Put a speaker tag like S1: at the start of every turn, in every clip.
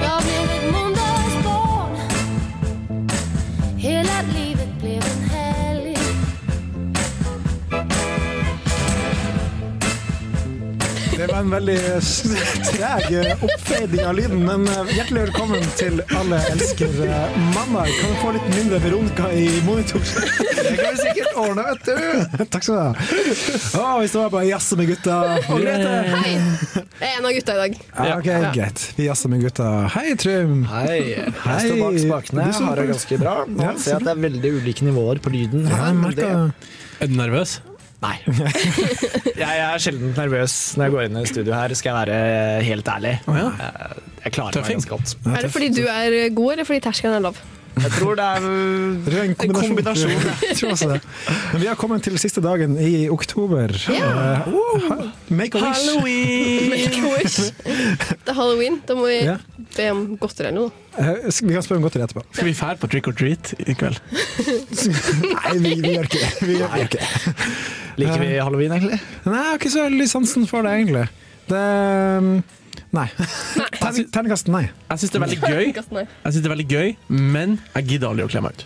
S1: Jag blev ett måndagsbarn Hela livet blev en helg
S2: Det var en veldig s- treg eh, oppfeiding av lyden, men eh, hjertelig velkommen til Alle elsker eh, mandag. Kan du få litt mindre Veronica i monitor?
S3: Det kan vi sikkert ordne, vet du.
S2: Takk skal du ha. Å, vi står her på jazze med gutta. Og Grete.
S4: Hei! Jeg er en av gutta i dag.
S2: Ja, ok, greit. Vi jazzer med gutta. Hei, Trym.
S3: Hei. Jeg står bak
S2: Hei.
S3: spakene,
S2: Du står
S3: har det
S2: bak-
S3: ganske bra. Nå
S2: Ja,
S3: ser jeg at det er veldig ulike nivåer på lyden.
S2: Ja, jeg
S3: men det-
S2: merker
S5: Er du nervøs?
S3: Nei. Jeg er sjelden nervøs når jeg går inn i studio her, skal jeg være helt ærlig. Eh, Jeg klarer meg
S5: Tøffing.
S3: ganske godt.
S2: Ja,
S4: Er det
S2: tøff.
S4: fordi du er god, eller fordi terskelen er lav?
S3: Jeg tror det er
S2: Det er en kombinasjon.
S3: kombinasjon,
S2: Jeg tror også det. Men vi har kommet til siste dagen i oktober. Eh, ha- Make a wish.
S4: Make a wish. Det er halloween. Da må vi
S2: Ja.
S4: be om godteri eller noe.
S2: Eh, sk- Vi kan spørre om godteri etterpå.
S5: Skal vi fære på trick or treat i kveld?
S2: Nei, vi, vi gjør ikke det. Vi gjør vi gjør ikke det.
S3: Liker vi
S2: Eh.
S3: halloween, egentlig?
S2: Nei, jeg har ikke så veldig sansen for det, egentlig. Det um, Nei. Terning- Terningkast nei.
S5: Jeg syns det er veldig gøy,
S4: Gassen her.
S5: Jeg synes det er veldig gøy, men jeg gidder aldri å kle meg ut.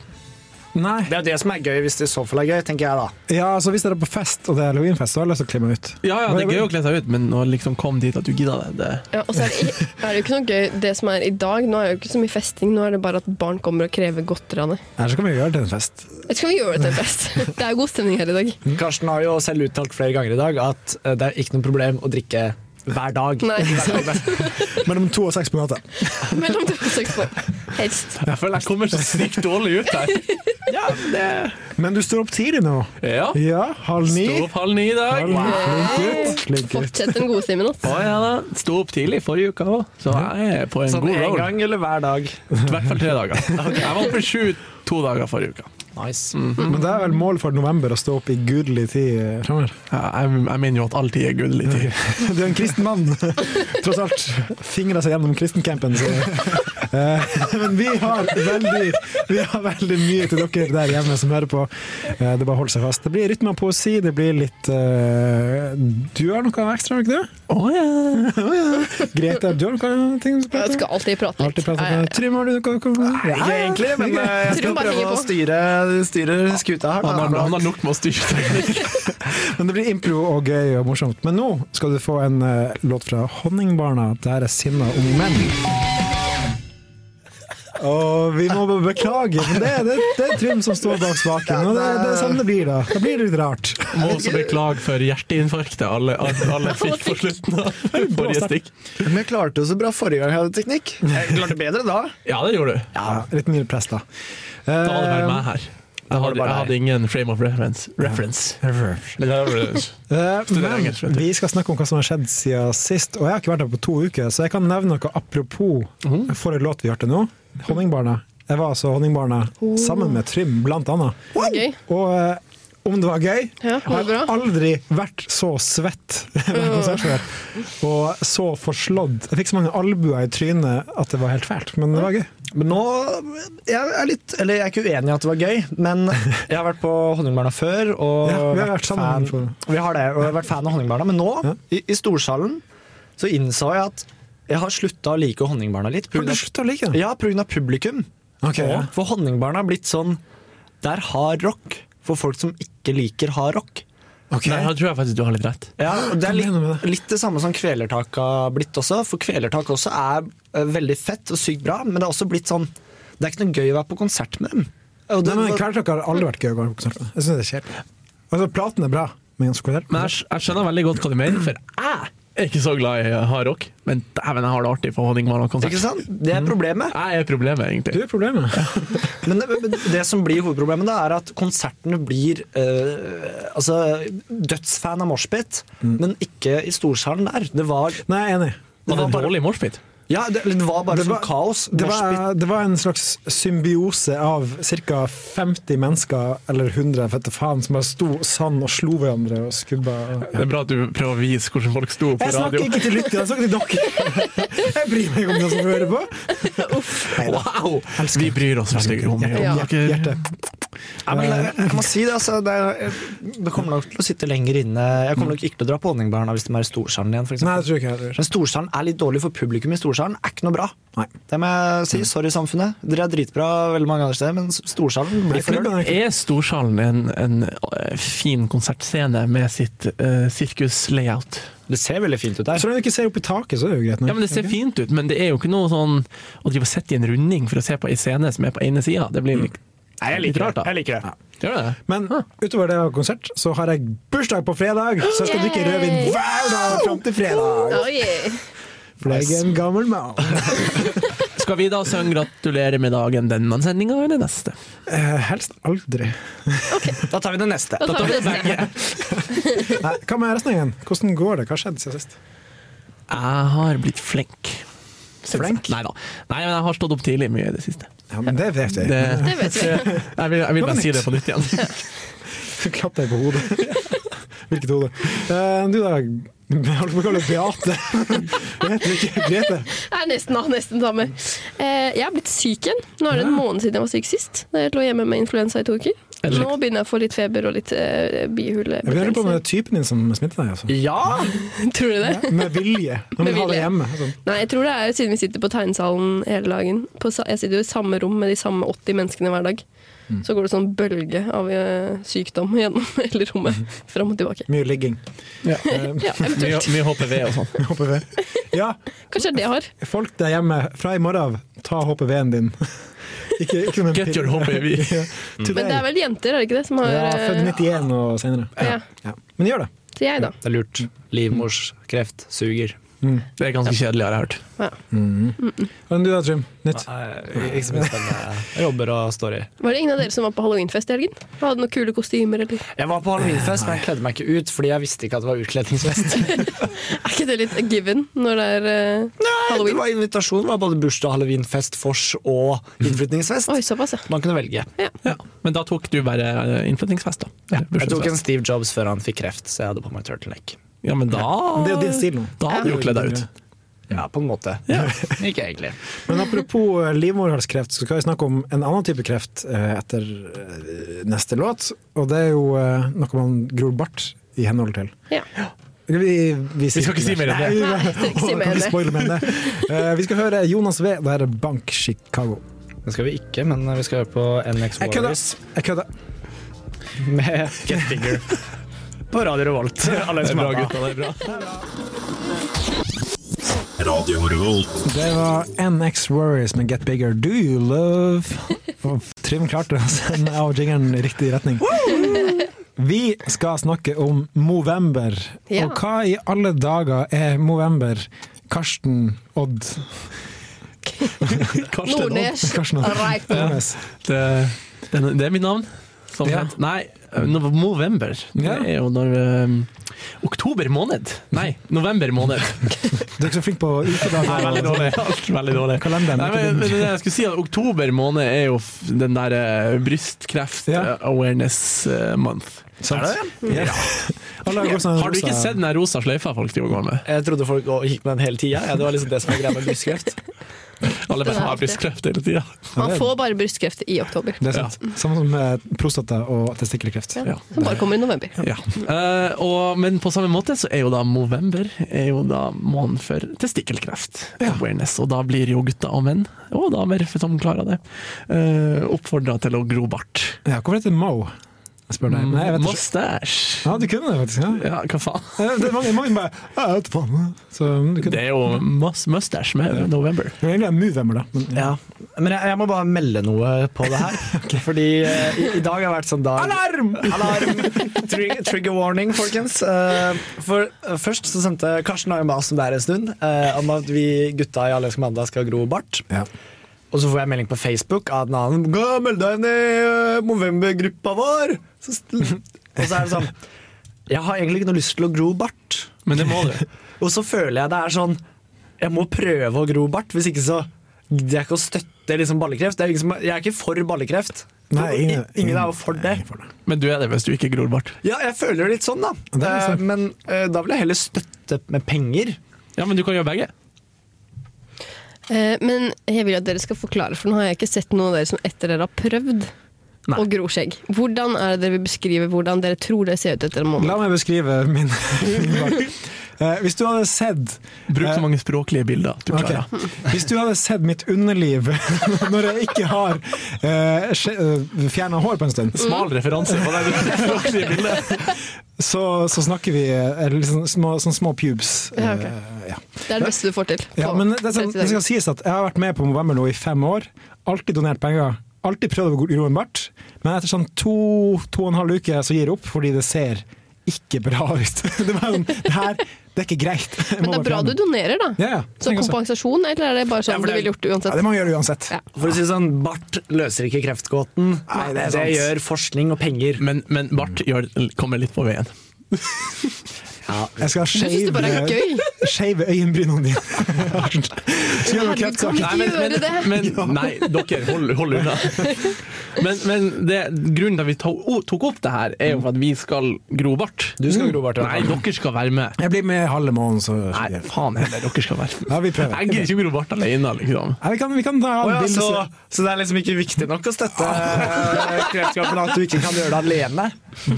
S2: Nei.
S3: Det er jo det som er gøy, hvis det i så fall er gøy, tenker jeg da.
S2: Ja, altså Hvis dere er på fest og det er halloweenfest, så har jeg lyst til å kle meg ut.
S5: Ja, ja, det er gøy å kle seg ut, men å liksom komme dit at du gidder det, det
S4: Ja, og så er det, er det jo ikke noe gøy det som er i dag. Nå er det jo ikke så mye festing. Nå er det bare at barn kommer og krever godteriene.
S2: Eller så kan vi gjøre det til en fest.
S4: Jeg vet ikke om vi gjør det til fest. Det er jo god stemning her i dag.
S2: Mm.
S3: Karsten har jo selv uttalt flere ganger i dag at eh, det er ikke noe problem å drikke hver dag.
S4: Nei,
S2: Mellom to og seks på natta.
S4: mellom to og seks år. Helst.
S5: Jeg føler jeg kommer så sykt dårlig ut her. Ja, det
S2: Men du står opp tidlig nå.
S5: Ja.
S2: Ja, halv ni.
S5: Sto opp halv ni i dag.
S2: Halv ni. Flink gutt. Flink gutt.
S4: Fortsett den gode altså. stimen. ass.
S5: Å, ja, da. Sto opp tidlig forrige uke òg, så jeg er på en
S3: Sånn
S5: god
S3: en
S5: roll.
S3: gang eller hver dag.
S5: I hvert fall tre dager. Jeg var oppe sju to dager forrige uke.
S3: Nice.
S2: Men det er vel målet for november å stå opp i gudelig tid eh, fremover.
S5: Ja, jeg, jeg mener jo at all tid er gull i tid.
S2: Du er en kristen mann, tross alt. Fingra seg gjennom kristencampen. Så. Eh, Men vi har, veldig, vi har veldig mye til dere der hjemme som hører på. Eh, Det er bare å holde seg fast. Det blir rytme og poesi. Det blir litt eh, Du har noe ekstra, har du ikke det?
S5: Å ja.
S2: Grete, du har noe ting du
S4: Jeg
S2: prater
S4: skal
S2: om?
S4: alltid prate
S2: Alltid
S4: litt.
S2: prater
S4: Eh,
S2: om Trym, har du noe? Ja,
S3: Ikke
S2: ja.
S3: egentlig, men eh, jeg
S4: Trym
S3: skal
S4: bare
S3: prøve
S4: henger
S3: å
S4: på.
S3: styre, styre skuta her.
S5: Han har,
S3: da.
S5: han har nok med å styre.
S2: Men det blir impro og gøy og morsomt. Men nå skal du få en eh, låt fra Honningbarna. Der er sinna unge menn. Og vi må bare beklage, men det, det, det er Trym som står bak spaken. Og det, det er sånn det blir, da. Da blir det litt rart.
S5: Må også beklage for hjerteinfarktet alle, alle, alle fikk på slutten av forrige stikk.
S3: Men jeg klarte jo så bra forrige gang jeg hadde teknikk. Jeg klarte bedre da.
S5: Ja, det gjorde du.
S2: Ja, litt mindre press, da.
S5: Da hadde det vært meg her. Jeg
S3: var det bare
S5: hadde, jeg
S3: deg.
S5: hadde ingen frame of reference. reference. Nei,
S2: Eh,
S5: Studerer
S2: Men
S5: engelsk, vet du.
S2: vi skal snakke om hva som har skjedd siden sist, og jeg har ikke vært her på to uker, så jeg kan nevne noe apropos
S5: Mhm.
S2: forrige låt vi hørte nå, 'Honningbarna'. Jeg var altså Honningbarna sammen med Trym, blant annet.
S4: Gøy.
S2: Og eh, om det var gøy
S4: Ja, var det
S2: Jeg har
S4: bra?
S2: aldri vært så svett ved en konsert før. Og så forslått. Jeg fikk så mange albuer i trynet at det var helt fælt, men det var gøy.
S3: Men nå Jeg er litt Eller jeg er ikke uenig i at det var gøy, men jeg har vært på Honningbarna før. Og
S2: Ja, vi har vært sammen
S3: fan,
S2: på-
S3: Vi har det, og jeg har vært fan av Honningbarna. Men nå, i, i storsalen, så innså jeg at jeg har slutta å like Honningbarna litt. på
S2: Har
S3: grunn
S2: du
S3: av-
S2: sluttet å like det?
S3: Ja, pga. publikum.
S2: Ok,
S3: og,
S2: ja.
S3: For Honningbarna har blitt sånn Det er hard rock for folk som ikke liker hard rock.
S2: Ok.
S5: da tror jeg faktisk du har litt rett.
S3: Ja, og Det er
S2: Hva mener du med
S3: litt,
S2: det?
S3: litt det samme som kvelertak har blitt også. For kvelertak også er eh, veldig fett og sykt bra, men det er også blitt sånn Det er ikke noe gøy å være på konsert med dem.
S2: Nei,
S3: Og det,
S2: men Kvelertak har aldri vært gøy å gå på konsert med. Jeg synes det er kjedelig. Altså, platen er bra, men jeg skulle-
S5: Men jeg, skj- jeg skjønner veldig godt hva du mener, for jeg er ikke så glad i hardrock. Men dæven, jeg har det artig på
S3: ikke
S5: Honningmarna-konsert.
S3: sant? Det
S2: Mm.
S3: er problemet.
S5: Jeg er
S2: du
S5: problemet, egentlig.
S2: er problemet.
S3: Men det, men det som blir hovedproblemet, da, er at konsertene blir eh, altså, dødsfan av moshpit,
S2: Mm.
S3: men ikke i storsalen der. Det var,
S2: Nei, jeg er enig.
S5: Var det
S3: var bare-
S5: dårlig moshpit?
S3: ja, det, det var bare
S2: Det var-
S3: sånn kaos.
S2: Det
S3: Moshpit-
S2: var, det var en slags symbiose av ca. 50 mennesker, eller 100, jeg vet da faen, som bare sto sann og slo hverandre og skubba. og-
S5: Det er bra at du prøver å vise hvordan folk sto på
S2: Jeg snakker
S5: radio.
S2: ikke til lytterne, jeg snakker til dere! Jeg bryr meg ikke om dere som hører på.
S5: Wow! Vi bryr oss veldig mye om
S2: Hjertet.
S4: Ja.
S5: dere.
S2: Hjertet.
S3: Ja, men jeg, jeg må si det, altså, det, er- det kommer nok til å sitte lenger inne. Jeg kommer nok ikke til å dra på Honningbarna hvis de er i Storsalen igjen. For
S2: Nei,
S3: eksempel.
S2: det tror jeg ikke jeg heller.
S3: Men Storsalen er litt dårlig for publikum i Storsalen. Er ikke noe bra.
S2: Nei.
S3: Det må jeg si. Sorry, samfunnet. Dere er dritbra veldig mange andre steder, men Storsalen blir for øl.
S2: Klubben er ikke
S5: Er Storsalen en, en eh, fin konsertscene med sitt eh, sirkuslayout?
S3: Det ser veldig fint ut der.
S2: Så lenge du ikke ser opp i taket, så er det jo greit. nok.
S5: Ja, men Det ser
S2: Ok.
S5: fint ut, men det er jo ikke noe sånn å drive og sitte i en runding for å se på ei scene som er på ene sida. Det blir litt,
S3: Nei, jeg
S5: litt
S3: liker
S5: rart,
S3: det.
S5: da.
S3: Jeg liker det.
S5: Mm. Gjør det?
S2: Men utover det å ha konsert, så har jeg bursdag på fredag, så jeg skal drikke
S1: Yay!
S2: rødvin hver dag fram til fredag!
S4: Oh, yeah.
S2: For jeg er en gammel mann.
S5: Skal vi da synge 'Gratulerer med dagen' denne sendinga eller neste?
S2: Eh, helst aldri.
S3: Da tar vi det neste.
S4: Da tar vi det.
S2: Nei, hva med resten av gjengen? Hvordan går det? Hva skjedde siden sist?
S5: Jeg har blitt flink. Flink? Nei da. Nei, men jeg har stått opp tidlig mye i det siste.
S2: Ja, men det vet jeg.
S5: Det,
S4: Det vet vi.
S5: jeg vil, jeg vil bare si det på nytt igjen.
S2: Du klapp deg på hodet. Hvilket hode? Eh, du da, jeg holdt på å kalle deg Beate. Du heter jo ikke Grete.
S4: Jeg er nesten, ah, nesten samme. Eh, jeg er blitt syk igjen. Nå er det en måned siden jeg var syk sist. Da jeg lå hjemme med influensa i to uker.
S5: Er det
S4: Nå begynner jeg å få litt feber og litt eh,
S2: Jeg lurer på om det
S4: bihulebetennelse.
S2: er typen din som smitter deg, altså.
S3: Ja!
S4: Tror du det?
S2: Med vilje. Når vi har
S4: Med
S2: det
S4: vilje.
S2: hjemme. Sånn.
S4: Nei, jeg tror det er siden vi sitter på tegnesalen hele dagen. På, sa- jeg sitter jo i samme rom med de samme 80 menneskene hver dag. Så går det sånn bølge av eh, sykdom gjennom hele rommet. Fram og tilbake.
S2: Mye ligging.
S5: Ja.
S2: Eh,
S4: Ja,
S5: Mye,
S4: eventuelt.
S5: mye HPV og sånn.
S2: håper vi. Ja,
S4: Kanskje det er det jeg har.
S2: folk der hjemme, fra i morgen av, ta HPV-en din. Ikke, ikke som en
S5: Get your HPV.
S2: Ja,
S4: Men det er
S2: Today.
S4: vel jenter, er det ikke det? Som har
S2: Ja,
S4: eh,
S2: født 91 og senere.
S4: Ja.
S2: Ja. Men gjør det.
S4: Så jeg, da.
S3: Det er lurt. Livmorskreft suger.
S5: Det er ganske kjedelig, har jeg hørt.
S2: Men du da, Trym? Nytt?
S3: Ikke så mye spennende. Jeg jobber og står i.
S4: Var det ingen av dere som var på halloweenfest i helgen? Hadde noen kule kostymer, eller?
S3: Jeg var på halloweenfest, men jeg kledde meg ikke ut fordi jeg visste ikke at det var utkledningsfest.
S4: Er ikke det litt a given når det er eh,
S3: Det
S4: halloween?
S3: var invitasjon, det var både bursdag, halloweenfest, vors og innflytningsfest.
S4: Oi, såpass, ja.
S3: Man kunne velge.
S5: Ja. Men da tok du bare eh, innflyttingsfest, da. Eller
S3: Jeg tok en
S5: bursdagsfest.
S3: Steve Jobs før han fikk kreft, så jeg hadde på meg turtleneck.
S5: Ja, men da
S2: Men det er jo din stil nå.
S5: Da hadde du jo kledd deg ut.
S3: Ja, på en måte. Ikke egentlig.
S2: Men apropos eh, livmorhalskreft, så skal vi snakke om en annen type kreft eh, etter eh, neste låt. Og det er jo eh, noe man gror bart i henhold til.
S4: ja.
S2: Vi,
S5: Vi skal ikke si mer enn det.
S2: vi-
S4: Nei, jeg skal ikke si
S2: Åh, kan
S4: mer enn
S2: vi
S4: det.
S2: spoile mer enn det. Eh, Vi skal høre Jonas V, da er det Bank Chicago.
S3: Det skal vi ikke, men vi skal høre på NX
S2: Jeg kødda!
S3: Warriors
S2: Jeg kødda.
S3: med Get Bigger. På Radio Revolt. Alle
S5: Det er
S3: som
S5: bra,
S3: er med.
S5: gutta. Det er bra.
S6: Radio Revolt.
S2: Det var NX Warriors med Get Bigger Do You Love. Og Trym klarte å sende av jingeren i riktig retning. Vi skal snakke om Movember.
S4: Ja.
S2: Og hva i alle dager er Movember? Karsten Odd.
S5: Karsten,
S4: Nordnes.
S2: Karsten Odd.
S4: Right.
S2: Nordnes.
S5: Det, eh, det, er- det er mitt navn. Som
S2: Ja.
S5: kjent. Nei, eh, no- Movember. Det
S2: Ja.
S5: er jo når um, Oktober måned. Nei, november måned.
S2: Du er ikke så flink på
S5: Nei,
S2: ukedager.
S5: veldig
S2: og
S5: dårlig. Alt veldig dårlig.
S2: Kalenderen.
S5: Nei,
S2: er
S5: men,
S2: ikke
S5: men
S2: din.
S5: det jeg skulle si er at Oktober måned er jo f- den der eh, brystkreft
S2: Ja.
S5: eh, awareness eh, month.
S2: Ja. Alle går sånn
S5: Har du ikke
S2: rosa-
S5: sett den der rosa sløyfa folk driver og går med?
S3: Jeg trodde folk å- gikk med den hele tida. Ja, det var liksom det som var greia med brystkreft.
S4: Den er
S5: Alle bare har
S4: alltid-
S5: brystkreft hele tida.
S4: Man får bare brystkreft i oktober.
S2: Det er sant. Samme som eh, prostata og testikkelkreft.
S5: Ja.
S4: Den bare kommer i november.
S5: Ja. Eh, og, men på samme måte så er jo da november er jo da måneden for testikkelkreft. Awareness. Og da blir jo gutter og menn, og damer for som klarer det, uh, oppfordra til å gro bart.
S2: Ja, hvorfor heter det Mo? Jeg spør deg. Nei, jeg vet ikke.
S5: Mustache.
S2: Ja, du kunne det faktisk. Ja.
S5: Mm. Ja, hva faen.
S2: Ja, Det er mange, mange bare «Ja, Jeg vet faen. Så mm, du
S5: Det
S2: kunne
S5: er jo mus- mustache med november.
S2: Det er egentlig en Movember, da. Men, ja.
S3: Ja. Men jeg, jeg må bare melde noe på det her. Fordi eh, i, i dag har vært sånn dag Alarm! Alarm! Trigger, trigger warning, folkens. Eh, for eh, først så sendte Karsten har jo mas om det her en stund, eh, om at vi gutta i Alle elsker mandag skal gro bart.
S2: Ja.
S3: Og så får jeg melding på Facebook av en annen Gå og meld deg inn i eh, Movember-gruppa vår! Så, st- og så er det sånn Jeg har egentlig ikke noe lyst til å gro bart.
S5: Men det må du.
S3: Og så føler jeg det er sånn Jeg må prøve å gro bart, hvis ikke så gidder jeg ikke å støtte liksom ballekreft. Det er liksom, jeg er ikke for ballekreft.
S2: Nei, ingen-
S3: ingen, ingen er jo for det.
S5: Men du er det hvis du ikke gror bart.
S3: Ja, jeg føler det litt sånn, da.
S2: det er litt
S3: Eh,
S2: sånn.
S3: Men eh, da vil jeg heller støtte med penger.
S5: Ja, men du kan gjøre begge.
S4: Eh, men jeg vil at dere skal forklare, for nå har jeg ikke sett noen av dere som etter dere har prøvd.
S3: Nei.
S4: og groskjegg. Hvordan er det dere vil beskrive hvordan dere tror det ser ut etter en måned?
S2: La meg beskrive min innbakk. Eh, Hvis du hadde sett
S5: Bruk
S2: Eh,
S5: så mange språklige bilder du
S2: Ok.
S5: klarer.
S2: Hvis du hadde sett mitt underliv når jeg ikke har eh, fjerna hår på en stund,
S5: Smal referanse på det språklige bildet.
S2: så, så snakker vi eh, liksom små, sånn små pubes.
S4: Ja, ok.
S2: Eh, ja.
S4: Det er det beste du får til.
S2: Ja,
S4: på
S2: men det, er sånn-
S4: 30
S2: det skal
S4: dager.
S2: sies at jeg har vært med på Movember nå i fem år. Alltid donert penger. Alltid prøvd å gro en bart. Men etter sånn to, to og en halv uke så gir jeg opp, fordi det ser ikke bra ut. Det, var sånn, det her, det er ikke greit. Jeg må
S4: men det er
S2: bare
S4: bra
S2: fjerne
S4: du
S2: den.
S4: donerer, da.
S2: Ja, ja.
S4: Så
S2: Tenk også.
S4: kompensasjon, eller er det bare sånn
S3: Ja,
S4: du
S3: for det-
S4: ville gjort det
S2: Ja,
S4: uansett?
S2: det må jeg gjøre uansett.
S4: Ja.
S3: For å si det sånn, bart løser ikke kreftgåten.
S2: Nei, det er
S3: det
S2: sant.
S3: gjør forskning og penger.
S5: Men, men Bart gjør, kommer litt på veien.
S2: Jeg skal
S4: Du syns det bare er
S2: skeive-
S4: gøy?
S2: skeive øyenbrynene dine. Skal gjøre noe
S4: Herregud, kan
S2: kreftsak.
S4: vi ikke gjøre det?
S5: men nei, dere, hold, hold unna. Men, men det, grunnen til at vi to, o- tok opp det her, er jo for at vi skal gro bart.
S3: Du
S4: Mm.
S3: skal gro bart, ja.
S5: Nei, dere skal være med.
S2: Jeg blir med halve måneden, så
S5: Nei, faen heller, dere skal være med.
S2: Ja, vi prøver.
S5: Jeg gidder ikke gro bart alene, liksom.
S2: Nei, vi, kan, vi kan ta
S3: Å ja,
S2: bildet
S3: så,
S2: så-
S3: så det er liksom ikke viktig nok å støtte
S2: Ah.
S3: eh, kreftgåten at du ikke kan gjøre det alene? Det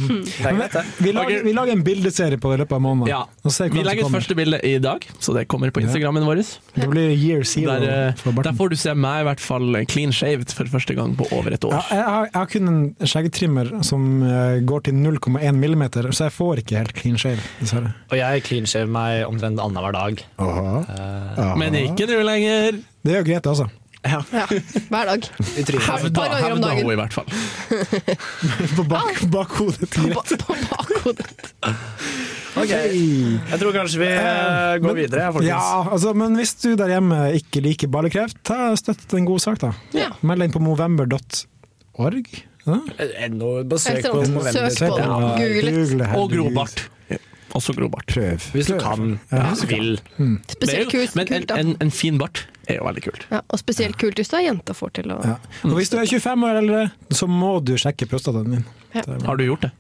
S3: er greit, det.
S2: vi, lager, vi lager en bildeserie på det i løpet av måneden.
S5: Ja.
S2: Og ser
S5: Vi
S2: hvordan det
S5: legger ut
S2: kommer.
S5: første bilde i dag, så det kommer på Instagrammen vår.
S2: Det blir year zero.
S5: Der,
S2: for
S5: eh,
S2: barten.
S5: der får du se meg i hvert fall clean shaved for første gang på over et
S2: Ja,
S5: år.
S2: jeg, har, jeg har kun en skjeggetrimmer som eh, går til 0,1 millimeter, så jeg får ikke helt clean shave, dessverre.
S3: Og jeg cleanshaver meg omtrent annenhver dag.
S5: Men ikke nå lenger!
S2: Det gjør Grete også.
S4: Ja, hver dag.
S3: I trynet.
S4: Et par ganger om
S5: hevda
S4: dagen.
S5: hun i hvert fall.
S2: På bak, bakhodet til Grete.
S4: Ba- På bakhodet.
S3: Ok, Jeg tror kanskje vi eh, går videre, jeg, folkens.
S2: Ja, altså, men hvis du der hjemme ikke liker ballekreft, ta støtt til en god sak, da.
S4: Ja.
S2: Meld deg inn på movember.org. Ja?
S3: Eh, nå bare søk
S4: Eller
S3: på
S4: sånn,
S3: Movember.
S4: søk på det.
S2: Ja,
S4: Google litt.
S2: Google,
S5: Og gro
S2: herregud.
S5: bart. Også gro bart.
S2: Prøv.
S3: Hvis du
S2: Prøv.
S3: kan, hvis du vil.
S5: Det er
S4: Spesielt
S5: jo-
S4: kult,
S5: Men en,
S4: kult da.
S5: en, en fin bart er jo veldig kult.
S4: Ja, og spesielt kult hvis du er jenta får til å
S2: Ja. Og hvis du er 25 år eller eldre, så må du sjekke prostataen din.
S4: Ja.
S5: Har du gjort det?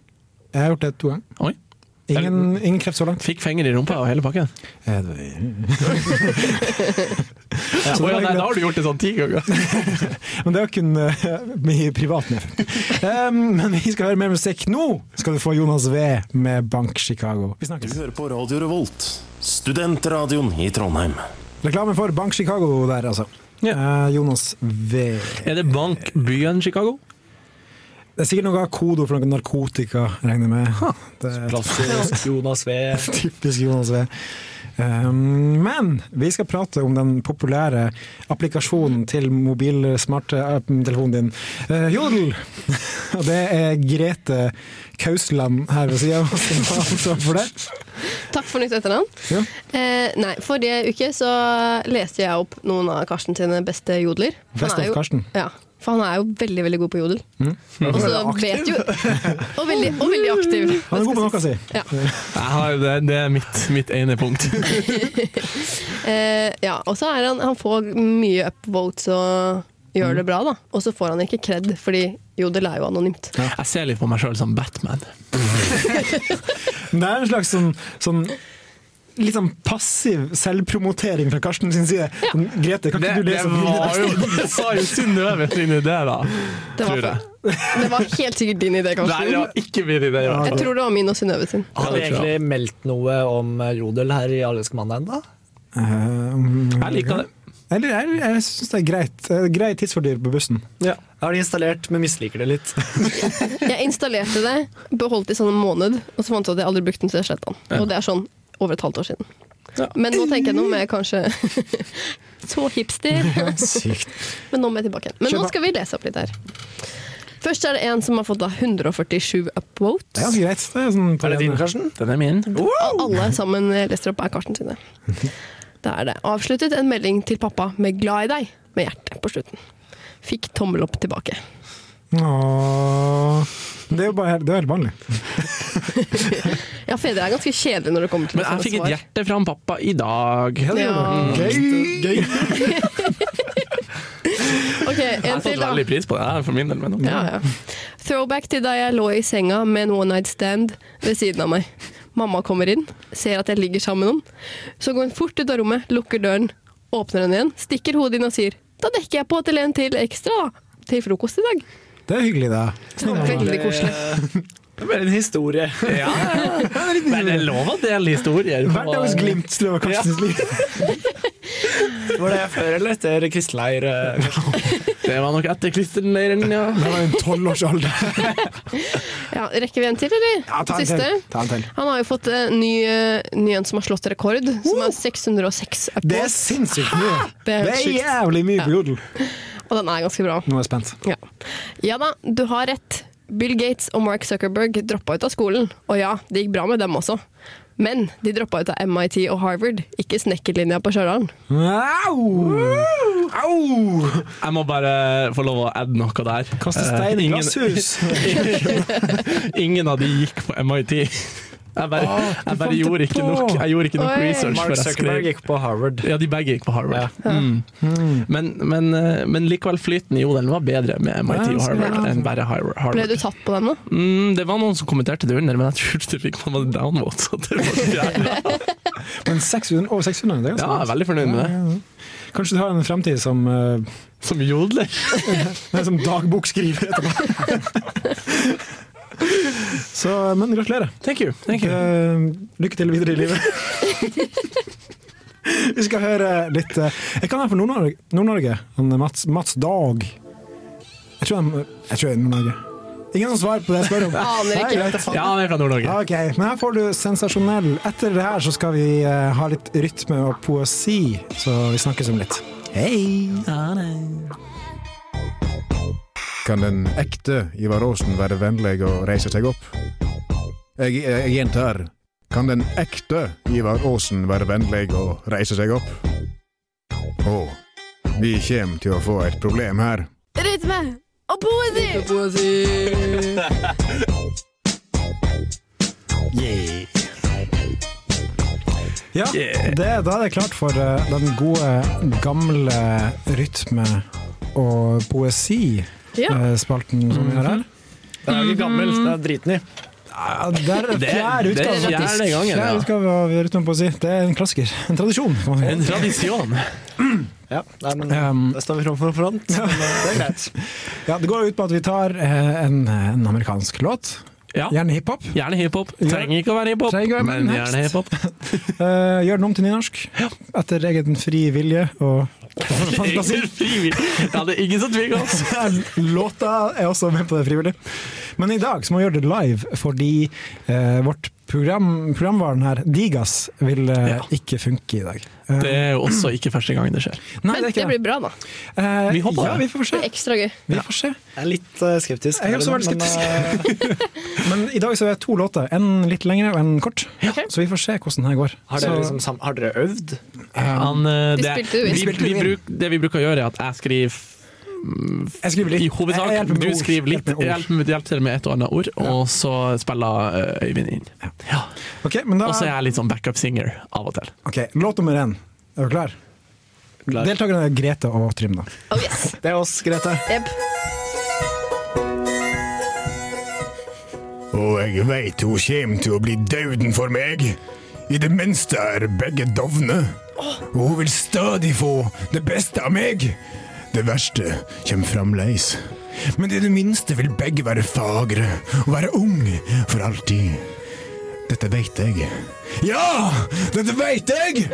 S2: Jeg har gjort det to ganger.
S5: Oi.
S2: Ingen, ingen kreft så langt.
S5: Fikk fenger i rumpa og hele pakken?
S2: Eh, det-
S5: Ja,
S2: det var
S5: nei,
S2: hyggelig.
S5: da har du gjort det sånn ti ganger.
S2: Men det er jo kun eh, mye privat med. Um, men vi skal høre mer musikk. Nå skal du få Jonas V med Bank Chicago. Vi
S6: Du
S2: snakkes.
S6: hører på Radio Revolt, studentradioen i Trondheim.
S2: Reklame for Bank Chicago der, altså. Eh, Jonas V.
S5: Er det Bank byen Chicago?
S2: Det er sikkert noe av kodo for noe narkotika, regner jeg med. Det er
S3: Klassisk Jonas V.
S2: typisk Jonas V. Um, men vi skal prate om den populære applikasjonen til mobilsmarte telefonen din, eh, Jodel. Og det er Grete Kausland her ved sida av oss som har ansvar for det.
S4: Takk for nytt etternavn.
S2: Ja.
S4: Eh, nei, forrige uke så leste jeg opp noen av Karsten sine beste jodler. Han
S2: Best
S4: er
S2: of
S4: jo-
S2: Karsten.
S4: Ja, for han er jo veldig, veldig god på jodel. Og så vet jo Og veldig, og veldig aktiv.
S2: Han er god på noe, si.
S4: Ja.
S5: det, er mitt, ene punkt.
S4: Eh, ja, og så er han Han får mye upvotes og gjør det bra, da. Og så får han ikke kred, fordi jodel er jo anonymt.
S5: Jeg ser litt på meg sjøl som Batman.
S2: Men det er en slags sånn, sånn Litt sånn passiv selvpromotering fra Karsten sin side. Sånn, Grete, kan
S5: Det,
S2: ikke du lese om
S5: var jo, det sa jo Synnøve sin idé, da.
S4: Det var,
S5: Tror jeg.
S4: det var helt sikkert din idé,
S5: Nei, det
S4: Karsten.
S5: var ikke min idé. i hvert fall.
S4: Jeg tror det var min og Synnøve sin.
S3: Har vi egentlig meldt noe om eh, jodel her i Allerske mandag ennå?
S5: Jeg liker det.
S2: Eller Ehm, jeg, jeg syns det er greit. Eh, Grei tidsfordriv på bussen.
S3: Ja. Jeg har det installert, men misliker det litt.
S4: Jeg installerte det, beholdt det i sånn en måned, og så fant jeg ut at jeg aldri brukte den, så jeg sletta den. Og det er sånn over et halvt år siden.
S5: Ja.
S4: Men nå tenker jeg nå må jeg kanskje Så hipster!
S2: Sykt.
S4: Men nå må jeg tilbake igjen. Men nå
S2: Kjør på.
S4: skal vi lese opp litt her. Først er det en som har fått da 147 upvotes.
S2: Det er ganske greit. Det er, sånn,
S3: Er det din, Karsten?
S5: Den er min.
S4: Og alle sammen leser opp er kartene sine. Da er det avsluttet en melding til pappa med 'glad i deg' med hjerte på slutten. Fikk tommel opp tilbake.
S2: Åh. Det er jo bare helt, det er helt vanlig.
S4: Ja, fedre er ganske kjedelige når det kommer til
S5: Men jeg
S4: sånne
S5: fikk et
S4: svar.
S5: hjerte fra han pappa i dag.
S4: Ja.
S2: Gøy!
S4: Ok,
S5: Jeg
S4: en
S5: har
S4: til,
S5: satt
S4: da.
S5: veldig pris på det her, for min del. Men
S4: Ja, ja. Throwback til da jeg lå i senga med en one night stand ved siden av meg. Mamma kommer inn, ser at jeg ligger sammen med noen. Så går hun fort ut av rommet, lukker døren, åpner den igjen, stikker hodet inn og sier Da dekker jeg på til en til ekstra, da. Til frokost i dag.
S2: Det er hyggelig, da.
S4: Veldig koselig.
S3: Det er bare en historie.
S5: Men det er lov å dele historier. på-
S2: Hverdagsglimt, tror jeg var Karstens liv.
S3: Var det før eller etter kristenleir? eh?
S5: Det var nok etter klisterleiren, ja.
S2: Det var i en tolvårsalder.
S4: Ja, rekker vi en til, eller?
S2: Ja, ta en
S4: Siste.
S2: til. Ta en til.
S4: Han har jo fått eh, ny, eh, ny en som har slått rekord, som er 606
S2: Det er
S4: upvotes.
S2: sinnssykt mye.
S4: Det er
S2: Det er
S4: helt sjukt.
S2: jævlig mye på jodel.
S4: Og den er ganske bra.
S2: Nå er jeg spent.
S4: Ja. ja da, du har rett. Bill Gates og Mark Zuckerberg droppa ut av skolen. Og ja, det gikk bra med dem også. Men de droppa ut av MIT og Harvard, ikke snekkerlinja på Stjørdal.
S2: Au! Au!
S5: Jeg må bare få lov å adde noe der.
S2: Kaste
S5: Eh,
S2: stein i
S5: ingen-
S2: glasshus.
S5: Ingen av de gikk på MIT. Jeg bare, jeg bare
S2: fant
S5: gjorde
S2: det
S5: ikke
S2: på!
S5: nok, jeg gjorde ikke nok
S4: Oi.
S5: research
S3: Mark
S5: før jeg skrev.
S3: Zuckerberg gikk på Harvard.
S5: Ja, de begge gikk på Harvard. Mm. Men, men, eh, men likevel flyten i jodelen var bedre med MIT og Harvard enn bare Har-
S4: Ble du
S5: Harvard.
S4: tatt på den, da?
S5: Mm, det var noen som kommenterte det under, men jeg tror det fikk man downvote. Så det var ikke jeg.
S2: Men 600, over 600, det er
S5: Ja, jeg er
S2: ganske bra.
S5: veldig fornøyd med det.
S2: Kanskje du har en fremtid som, eh,
S5: Som jodler.
S2: nei, som dagbokskriver etterpå. Så, men gratulerer.
S5: Thank you. Thank you.
S2: Eh, lykke til videre i livet. Vi skal høre litt eh, Jeg kan være fra Nord-Norge. Nord-Norge. Han er Mats, Mats Dag. Jeg tror han jeg tror jeg er Nord-Norge. Ingen som svarer på det jeg spør om.
S4: Aner ikke.
S2: Nei, greit.
S5: Ja, han er fra Nord-Norge.
S2: Ok, men her får du sensasjonell. Etter det her så skal vi eh, ha litt rytme og poesi, så vi snakkes om litt. Hei!
S7: Kan den ekte Ivar Aasen være vennlig å reise seg opp? Jeg, eh, jeg gjentar. Kan den ekte Ivar Aasen være vennlig å reise seg opp? Å, vi kjem til å få et problem her.
S1: Rytme og poesi.
S2: Ja, det, da er det klart for eh, den gode, gamle rytme og
S4: Ja.
S2: poesi-spalten som vi har her.
S3: Det er jo ikke gammel, det er driten i.
S2: Ja, det er
S5: Det
S2: fjerde
S5: er- det er
S2: utgave,
S5: fjerde
S2: faktisk.
S5: gangen, ja.
S2: Fjerde utgave av Rytmen på å si. Det er en klassiker. En tradisjon, kan man
S5: En
S2: si.
S5: tradisjon.
S3: Ja, nei, men
S2: Um,
S3: da står vi fram for front. Men eh, det er greit.
S2: ja, det går ut på at vi tar eh, en, en amerikansk låt,
S5: Ja.
S2: gjerne hiphop.
S5: Gjerne hiphop. Trenger ikke å være hiphop,
S2: Trenger ikke å være-
S5: men gjerne
S2: Next.
S5: hiphop.
S2: Eh, gjør den om til nynorsk, etter egen fri vilje og fantasi.
S5: Ja, det er ingen som tviler oss.
S2: Låta er også med på det frivillig. Men i dag så må vi gjøre det live, fordi eh, vårt program, programvaren her, Digas, vil eh,
S5: Ja.
S2: ikke funke i dag. Eh,
S5: Det er jo også ikke første gang det skjer.
S2: nei,
S4: Men
S2: det er
S4: det
S2: ikke det.
S4: blir bra, da.
S2: Eh,
S5: Vi håper
S2: ja,
S5: det.
S2: vi får
S4: Det
S2: se.
S4: er ekstra gøy.
S2: Vi får se.
S3: Jeg er litt eh, skeptisk.
S2: Jeg er også veldig
S3: eh,
S2: skeptisk.
S4: eh,
S2: Men i dag så er det to låter. En litt lengre og en kort. Så vi får se hvordan det her går.
S3: Har
S2: Så,
S3: dere, liksom, sam har dere øvd?
S2: Um,
S5: Han, eh,
S4: De
S5: det,
S4: spilte jo inn.
S5: vi, vi bruk, det vi bruker å gjøre, er at jeg skriver
S2: jeg skriver litt.
S5: i
S2: Jeg
S5: hovedsak.
S2: hjelper med
S5: Du
S2: ord.
S5: skriver litt.
S2: Hjelper med ord.
S5: Hjelp, med- hjelp til med et og annet ord, og så spiller eh, Øyvind inn. Ja.
S2: Ok, men da,
S5: Og så er jeg litt sånn backup singer av og til.
S2: ok, Låt nummer én. Er du klar?
S3: Klar.
S2: Deltakerne er Grete og Trym, da.
S4: Oh yes.
S3: Det er oss, Grete.
S4: Jep.
S7: Og jeg veit hun kjem til å bli dauden for meg. I det minste er begge dovne. Og hun vil stadig få det beste av meg. Det verste kjem fremleis. Men i det minste vil begge være fagre og være ung for alltid. Dette veit jeg. Ja, dette veit jeg!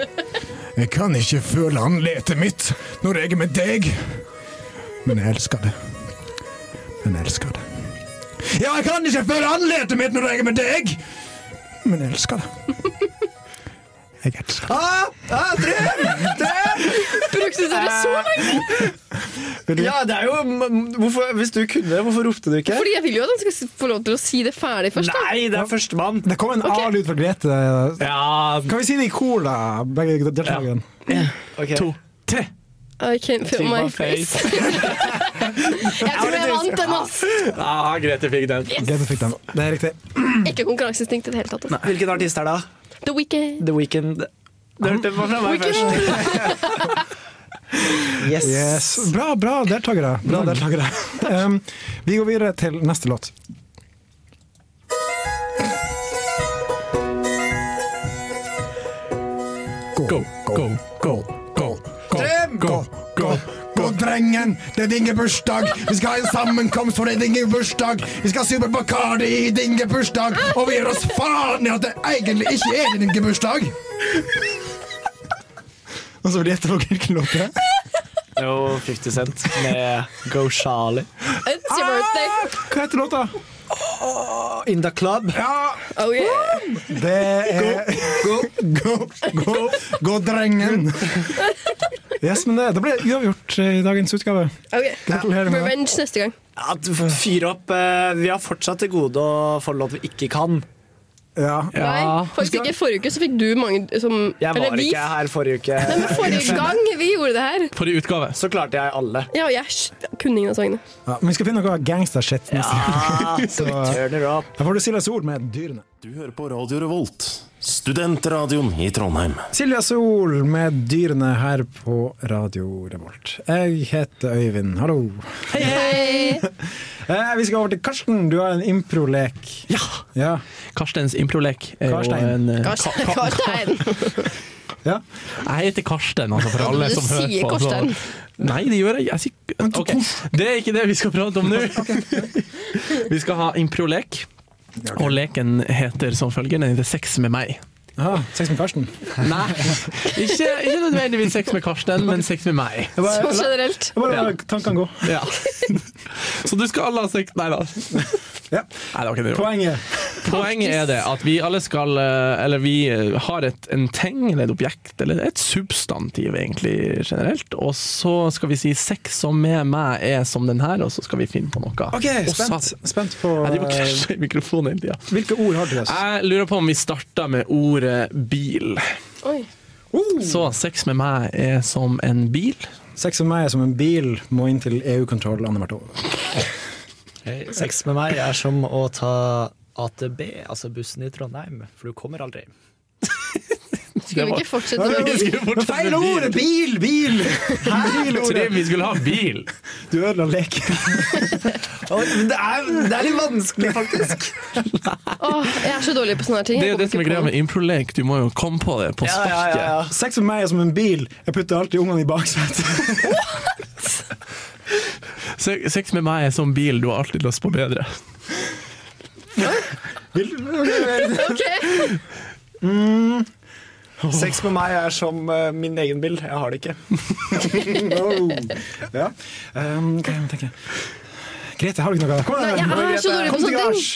S7: Jeg kan ikke føle andletet mitt når jeg er med deg. Men jeg elsker det. Men jeg elsker det. Ja, jeg kan ikke føle ansiktet mitt når jeg er med deg! Men jeg elsker det. Jeg elsker det.
S3: Ah!
S4: Brukte dere så lenge?
S3: Ja, det er jo m- hvorfor, Hvis du kunne det, hvorfor ropte du ikke?
S4: Fordi jeg vil jo at han skal få lov til å si det ferdig først. da.
S3: Nei, det er førstemann!
S2: Det kom en A-lyd fra Grete.
S5: Ja,
S2: Kan vi si det i kor, da? Begge deltakerne.
S3: Ok.
S5: to, tre.
S4: I can't feel
S5: To
S4: my
S5: my
S4: face. jeg tror jeg vant den, ass!
S5: Ja, Grete fikk den.
S2: Grete fikk den. Det er riktig.
S4: Ikke konkurranseinstinkt i det hele tatt. ass.
S3: Hvilken artist er det? da?
S4: The Weeknd.
S3: The Weeknd. Du hørte det fra meg først. Yes.
S2: Yes. Bra, bra deltakere. Bra deltakere. Um, vi går videre til neste låt.
S5: Go, go, go, go, go, go, go,
S7: og drengen. Det er dingebursdag. Vi skal ha en sammenkomst for det er dingebursdag. Vi skal super Bacardi i dingebursdag, og vi gir oss faen i at det egentlig ikke er dingebursdag.
S3: Og så blir det etterpå hvilken låt det er. Jo, 50 Cent med Go Charlie.
S4: It's your birthday!
S2: Ah! Hva heter låta?
S3: In the club.
S4: Oh yeah!
S2: Det er
S7: Gå, gå, gå, gå, drengen.
S2: Yes, men det, det ble uavgjort eh, i dagens utgave.
S4: Ok.
S2: Gratulerer med det.
S4: Revenge neste gang.
S3: Ja, du får fyre opp. eh, Vi har fortsatt til gode å få låt vi ikke kan.
S2: Ja.
S4: Nei, faktisk ikke Forrige uke så fikk du mange som
S3: Jeg var
S4: Eller vi.
S3: ikke her forrige
S4: Nei, men
S3: uke.
S4: forrige gang vi gjorde det her
S5: For i utgave.
S3: Så klarte jeg alle.
S4: Ja, jeg sh- kunne ingen av sangene.
S2: Ja, men vi skal finne noe gangstershit neste gang.
S3: Ah, turn it up.
S2: Da får du Silja Sol med 'Dyrene'.
S6: Du hører på Radio Revolt, studentradioen i Trondheim.
S2: Silja Sol med 'Dyrene' her på Radio Revolt. Jeg heter Øyvind, hallo. Eh, vi skal over til Karsten, du har en improlek.
S5: Ja!
S2: Ja.
S5: Karstens improlek. er jo
S2: Karstein.
S5: en, eh,
S4: Karstein.
S5: ka- ka-
S4: Karstein.
S2: ja.
S5: Jeg heter Karsten, altså, for alle
S4: Du
S5: som hører
S4: sier
S5: på. så-
S4: Karsten.
S5: Nei, det gjør jeg. jeg sier, Ok, Det er ikke det vi skal prate om nå. Vi skal ha improlek, og leken heter som følger Den heter Sex med meg.
S2: Aha, Ah, sex med Karsten.
S5: Nei, ikke, ikke nødvendigvis sex med Karsten, men sex med meg.
S2: Jeg bare,
S4: Sånn generelt.
S2: jeg bare lar tankene gå.
S5: Ja. Så du skal alle ha sex Nei da. Nei,
S2: Ja.
S5: det var ikke det.
S2: Poenget
S5: Poenget er det at vi alle skal eh, Eller vi eh, har et, en ting, eller et objekt, eller et substantiv egentlig generelt. Og så skal vi si 'sex som med meg er som den her', og så skal vi finne på noe.
S2: OK,
S5: Og så-
S2: spent, spent på
S5: Jeg driver og
S2: eh,
S5: krasjer i mikrofonen hele tida.
S2: Hvilke ord har du til oss?
S5: Jeg lurer på om vi starter med ordet bil.
S4: Oi.
S5: Så sex med meg er som en bil.
S2: Sex med meg er som en bil, må inn til EU-kontroll annethvert år.
S3: Sex med meg er som å ta AtB, altså bussen i Trondheim, for du kommer aldri.
S4: Skulle vi ikke fortsette med
S5: Vi
S4: det?
S5: skulle fortsette
S2: Feil
S5: med bil.
S2: ord! Bil! Bil!
S5: Tre, vi skulle ha bil!
S2: Du ødela leken.
S3: Det er, litt vanskelig, faktisk.
S4: Åh, jeg er så dårlig på sånne her ting.
S5: Det
S4: Jeg
S5: er jo det som
S4: kommer ikke
S5: er greia
S4: på
S5: med improlek, du må jo komme på det på
S3: Ja, ja,
S5: sparket.
S3: ja, ja.
S2: Sex med meg er som en bil, jeg putter alltid ungene i baksetet.
S5: Se- Sex med meg er som bil, du har alltid lyst på bedre.
S3: Sex med meg er som eh, min egen bil. Jeg har det ikke.
S2: No. Oh. Ja. Um, hva må jeg tenke? Grete, har du ikke noe? Kom
S4: Nei,
S2: igjen!
S4: jeg er så dårlig på
S2: Kom til
S4: sånne ting.
S2: gards.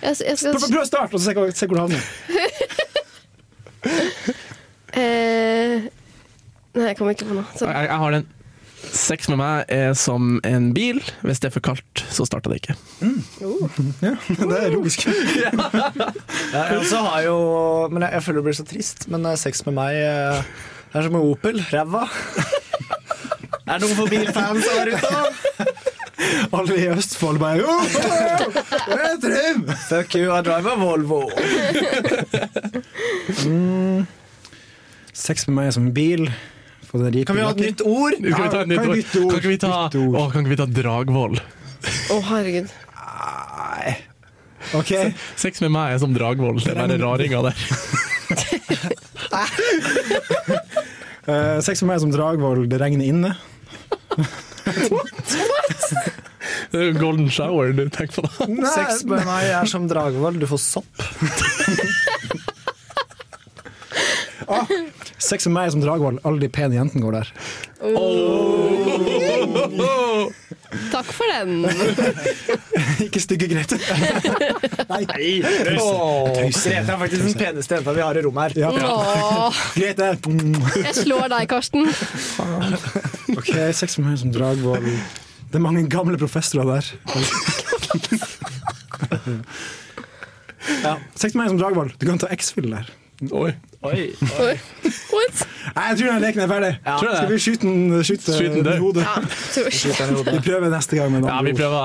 S4: Jeg, jeg skal
S2: Prøv prøv å starte, og så se hvor- se hvor du havner.
S4: eh, Nei, jeg kommer ikke på noe. Sånn.
S5: Jeg, jeg har den. Sex med meg er som en bil. Hvis det er for kaldt, så starter det ikke.
S2: Ja, det er logisk.
S3: Jeg, jeg også har jo Men jeg, jeg føler det blir så trist. Men eh, sex med meg eh, er som en Opel. Ræva. Er det noen for bilfans der ute? da?
S2: Alle i Østfold bare «Åh, det er Trym!»
S3: Fuck you, I drive a Volvo.
S2: Sex med meg er som en bil. Få den rike
S3: Kan vi ha et
S2: lakken.
S3: nytt ord?
S5: Kan vi ta,
S2: Ja,
S5: et nytt
S2: kan vi
S5: ord?
S2: bytte ord?
S5: Kan ikke vi ta,
S2: Bytte ord.
S5: å, kan ikke vi ta Dragvoll?
S4: Å, herregud.
S2: Ok,
S5: Sex med meg er som Dragvoll. Det er bare raringa der.
S2: eh, Sex med meg er som Dragvoll, det regner inne.
S5: Det er jo Golden shower, du tenk på det.
S3: Sex med meg er som Dragvoll. Du får sopp.
S2: Sex med meg er som Dragvoll, alle de pene jentene går der.
S4: Takk for den.
S2: Ikke stygge Grete. Nei.
S3: Grete er faktisk den peneste jenta vi har i rommet her.
S2: Ja,
S4: Åh,
S2: Grete. Mm.
S4: jeg slår deg, Karsten.
S2: Ok, sex med meg er som Dragvoll. Det er mange gamle professorer der.
S3: Ja.
S2: Sex med meg er som Dragvoll, du kan ta X-fill der.
S5: Oi.
S3: Oi.
S4: What?
S2: Nei, jeg tror den leken er ferdig.
S3: Ja.
S5: Tror jeg det.
S2: Skal vi skyte den skyte
S5: Skyte den
S2: den i
S5: død.
S2: hodet?
S4: Ja, tror-
S2: Vi prøver neste gang med en
S5: Ja, vi
S2: annen ord.
S5: prøver.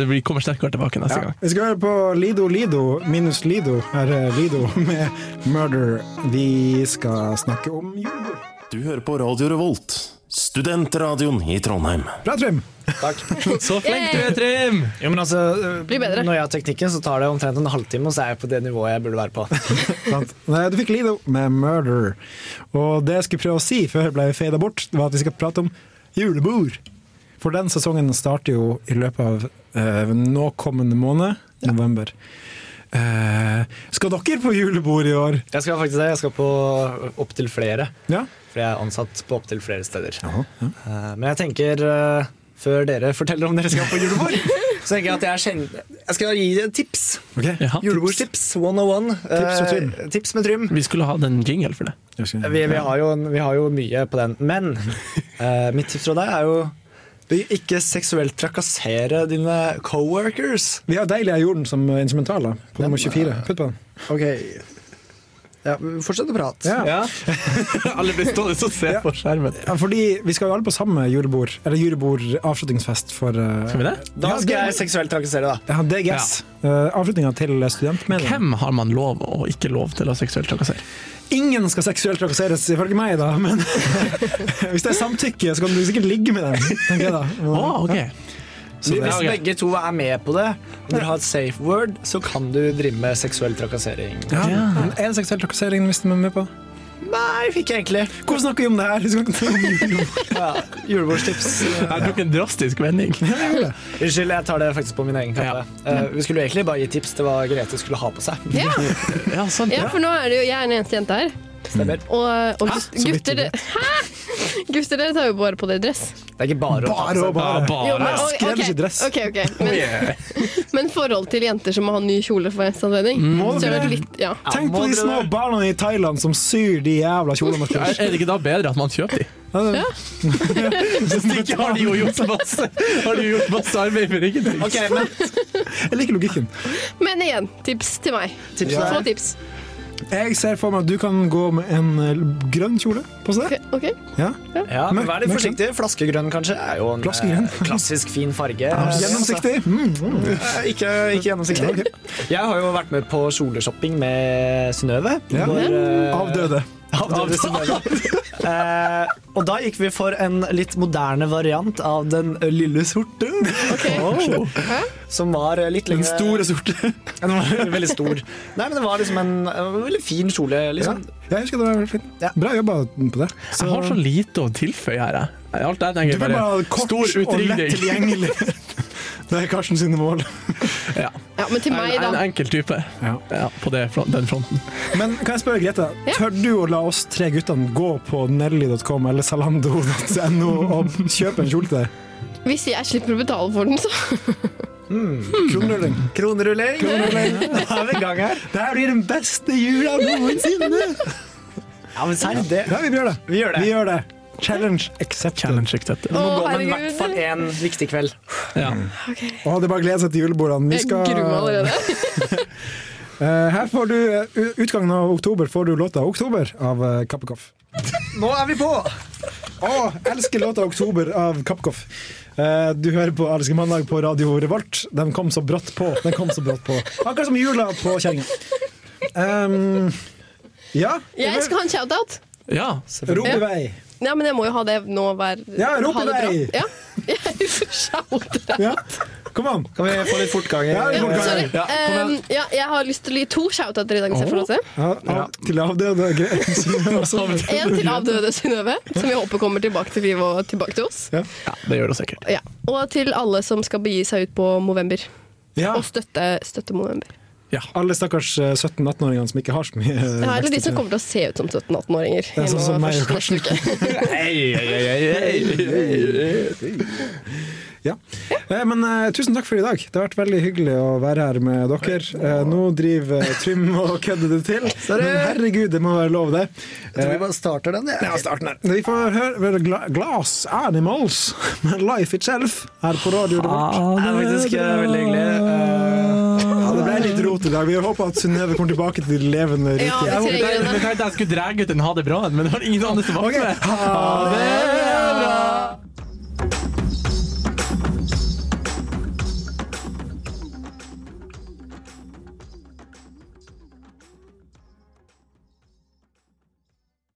S5: eh, Vi kommer sterkere tilbake neste
S2: Ja.
S5: gang.
S2: Vi skal høre på Lido Lido minus Lido, her er Lido med Murder. Vi skal snakke om julebord.
S6: Du hører på Radio Revolt, studentradioen i Trondheim.
S2: Bra, Trym!
S5: Så flink du er, Trym!
S3: Ja, men altså, øh,
S4: Bli bedre.
S3: Når jeg har teknikken, så tar det omtrent en halvtime, og så er jeg på det nivået jeg burde være på.
S2: Sant? Nei, Du fikk Lido med Murder. Og det jeg skulle prøve å si før jeg ble fada bort, var at vi skal prate om julebord! For den sesongen starter jo i løpet av eh, nå kommende måned, november. Eh, skal dere på julebord i år?
S3: Jeg skal faktisk det. Jeg skal på opptil flere.
S2: Ja.
S3: For jeg er ansatt på opptil flere steder.
S2: Jaha, ja.
S3: Eh, Men jeg tenker, eh, før dere forteller om dere skal på julebord, så tenker jeg at jeg, kjenner, jeg skal gi dere tips.
S2: Ok.
S5: Ja.
S3: Julebordstips 101.
S2: Tips og trym.
S3: Eh, Tips med trym.
S5: Vi skulle ha den jingle for det.
S2: Jeg skal-
S3: Vi, vi, har jo, en- vi har jo mye på den. Men eh, mitt tips fra deg er jo ikke seksuelt trakassere dine coworkers.
S2: Vi har deilig jeg gjorde den som instrumental da, på nummer 24. Putt på den.
S3: Ok. Ja, fortsett å prate.
S2: Ja.
S5: Alle blir stående og se på skjermen.
S2: Ja, fordi vi skal jo alle på samme julebord, eller julebord-avslutningsfest for eh,
S5: Skal vi det?
S3: Da skal jeg seksuelt trakassere, da.
S2: Ja, DGS. Ja. Eh, Avslutninga til studentmediene.
S5: Hvem har man lov og ikke lov til å seksuelt trakassere?
S2: Ingen skal seksuelt trakasseres, ifølge meg, da, men hvis det er samtykke, så kan du sikkert ligge med den, tenker jeg da.
S5: Å, ok.
S3: Hvis
S5: Ja, ok.
S3: begge to er med på det, og dere har et safe word, så kan du drive med seksuell trakassering.
S2: Ja. Men Er det seksuell trakassering hvis man er med på?
S3: Nei, fikk jeg egentlig.
S2: Hvorfor snakker vi om det her? Vi skal ikke snakke om julebord.
S3: Ja, Julebordstips.
S5: Jeg tok en drastisk vending.
S3: Unnskyld, jeg tar det faktisk på min egen kappe. Eh, vi skulle jo egentlig bare gi tips til hva Grete skulle ha på seg.
S4: Ja,
S5: Ja, sant.
S4: ja, for nå er det jo jeg er den eneste jenta her.
S3: Stemmer.
S4: Og, og gut- gutter, dere- Hæ? gutter dere tar jo bare på dere dress.
S3: Det er ikke bare, å ta
S2: Bare
S3: på
S2: og
S3: seg.
S2: bare.
S4: Jo, men-
S5: Bare
S4: oi, ok,
S2: skrevs i dress. Oh,
S4: Ok, ok. Men, men forhold til jenter som må ha ny kjole for eneste anledning.
S2: Mm, Må
S4: så er
S2: dere?
S4: det litt, ja.
S2: Tenk på de små barna i Thailand som syr de jævla kjolene.
S5: Er er det ikke da bedre at man kjøper de?
S2: Ja.
S5: Ikke har de jo gjort masse, har de jo gjort masse arbeid for ingenting.
S3: Ok, men
S2: Jeg liker logikken.
S4: Men igjen, tips til meg.
S3: tips
S4: Få
S3: er
S4: tips.
S2: Jeg ser for meg at du kan gå med en eh, grønn kjole på seg.
S4: Ok, ok.
S2: Ja.
S3: ja, men Vær litt
S2: Mørk-
S3: forsiktig. Flaskegrønn kanskje er jo en
S2: Flaskegrønn.
S3: eh, klassisk fin farge.
S2: Gjennomsiktig. Mm, mm.
S3: Eh, Ikke, ikke gjennomsiktig. Jeg har jo vært med på kjoleshopping med Synnøve.
S2: Ja.
S3: Hvor, eh,
S2: Avdøde.
S3: Avdøde Synnøve. Eh, og da gikk vi for en litt moderne variant av den lille sorte.
S5: Oh.
S3: Som var litt
S2: Den
S3: lengre
S2: store sorte.
S3: Den var veldig stor. Nei, men det var liksom en, en veldig fin kjole.
S2: Ja.
S3: Liksom.
S2: Jeg husker det var veldig fint.
S3: Ja.
S2: Bra jobba på det.
S5: Jeg har så lite å tilføye her. jeg. Alt jeg
S2: Du
S5: tenker
S2: vil
S5: bare,
S2: bare ha det kort
S5: stor
S2: og lett
S5: utringning.
S2: tilgjengelig. Det er Karsten sine mål.
S5: Ja.
S4: Ja, men til meg,
S5: En, en
S4: da.
S5: enkel type
S2: Ja.
S5: ja, på det, front- den fronten.
S2: Men kan jeg spørre Grete, tør du å la oss tre guttene gå på nelly.com eller salando.no og kjøpe en kjole til deg?
S4: Hvis jeg slipper å betale for den, så.
S2: Kronrulling.
S3: Kronerulling! Da er vi i gang her.
S2: Det her blir den beste jula noensinne!
S3: Ja, men serr, det
S2: Ja, vi gjør det.
S3: Vi gjør det.
S2: Vi gjør det. Challenge accepted.
S5: Challenge accepted.
S4: Å,
S3: må gå med i hvert fall
S4: herregud.
S3: én viktig kveld.
S5: Ja.
S2: Å, det er bare å glede seg til julebordene. Vi
S4: Jeg
S2: skal,
S4: gruer meg allerede.
S2: Eh, her får du eh, u- utgangen av oktober får du låta 'Oktober' av eh, Kappekoff.
S3: Nå er vi på!
S2: Å, elsker låta 'Oktober' av Kappekoff. Eh, du hører på Ariske mandag på Radio Revolt. Den kom så brått på. Den kom så brått på. Akkurat som jula på kjerringa. Um, ja,
S4: Jeg skal ha en shout-out.
S5: ja.
S2: rop i vei.
S4: Ja, men jeg må jo ha det nå hver
S2: Ja, rop
S4: ha
S2: i
S4: det bra.
S2: vei.
S4: Ja. Jeg shouter deg.
S2: Ja. Kom an.
S3: Kan vi få litt fortgang? i-
S2: Ja, vi får
S4: Ja,
S2: gang.
S4: sorry.
S5: Ja, kom igjen.
S4: Um, ja, jeg har lyst til å gi to shout-outer i dag. hvis jeg får lov til.
S2: Ja,
S5: Ja.
S2: av, til avdøde Grete.
S4: En til avdøde Synnøve, som jeg håper kommer tilbake til livet og tilbake til oss.
S5: ja, det gjør det sikkert.
S4: Ja. Og til alle som skal begi seg ut på Movember.
S2: Ja,
S4: Og støtte, støtte Movember.
S2: alle stakkars eh, 17-18-åringene som ikke har så mye. eh,
S4: Ja, eller de som
S2: støtte.
S4: kommer til å se ut som 17-18-åringer.
S2: Ja, sånn som meg og
S5: Hei, hei, hei,
S2: Ja. Eh, Men eh, tusen takk for i dag. Det har vært veldig hyggelig å være her med dere. Eh, nå driver eh, Trym og kødder det til. Men herregud, det må være lov, det.
S3: Jeg tror vi bare starter den. jeg.
S2: Vi får høre vel, Gla- Glass Animals med Life Itself her på Radio Revolt.
S3: Det er faktisk eh, veldig hyggelig. Eh,
S2: Ja, det ble litt rot i dag. Vi håper at Synnøve kommer tilbake til de levende
S4: Ja,
S2: rike.
S4: vi trenger
S5: Jeg
S4: det.
S5: tenkte jeg skulle dra ut en ha det bra-en, men det var ingen andre som var med.
S2: Ha det!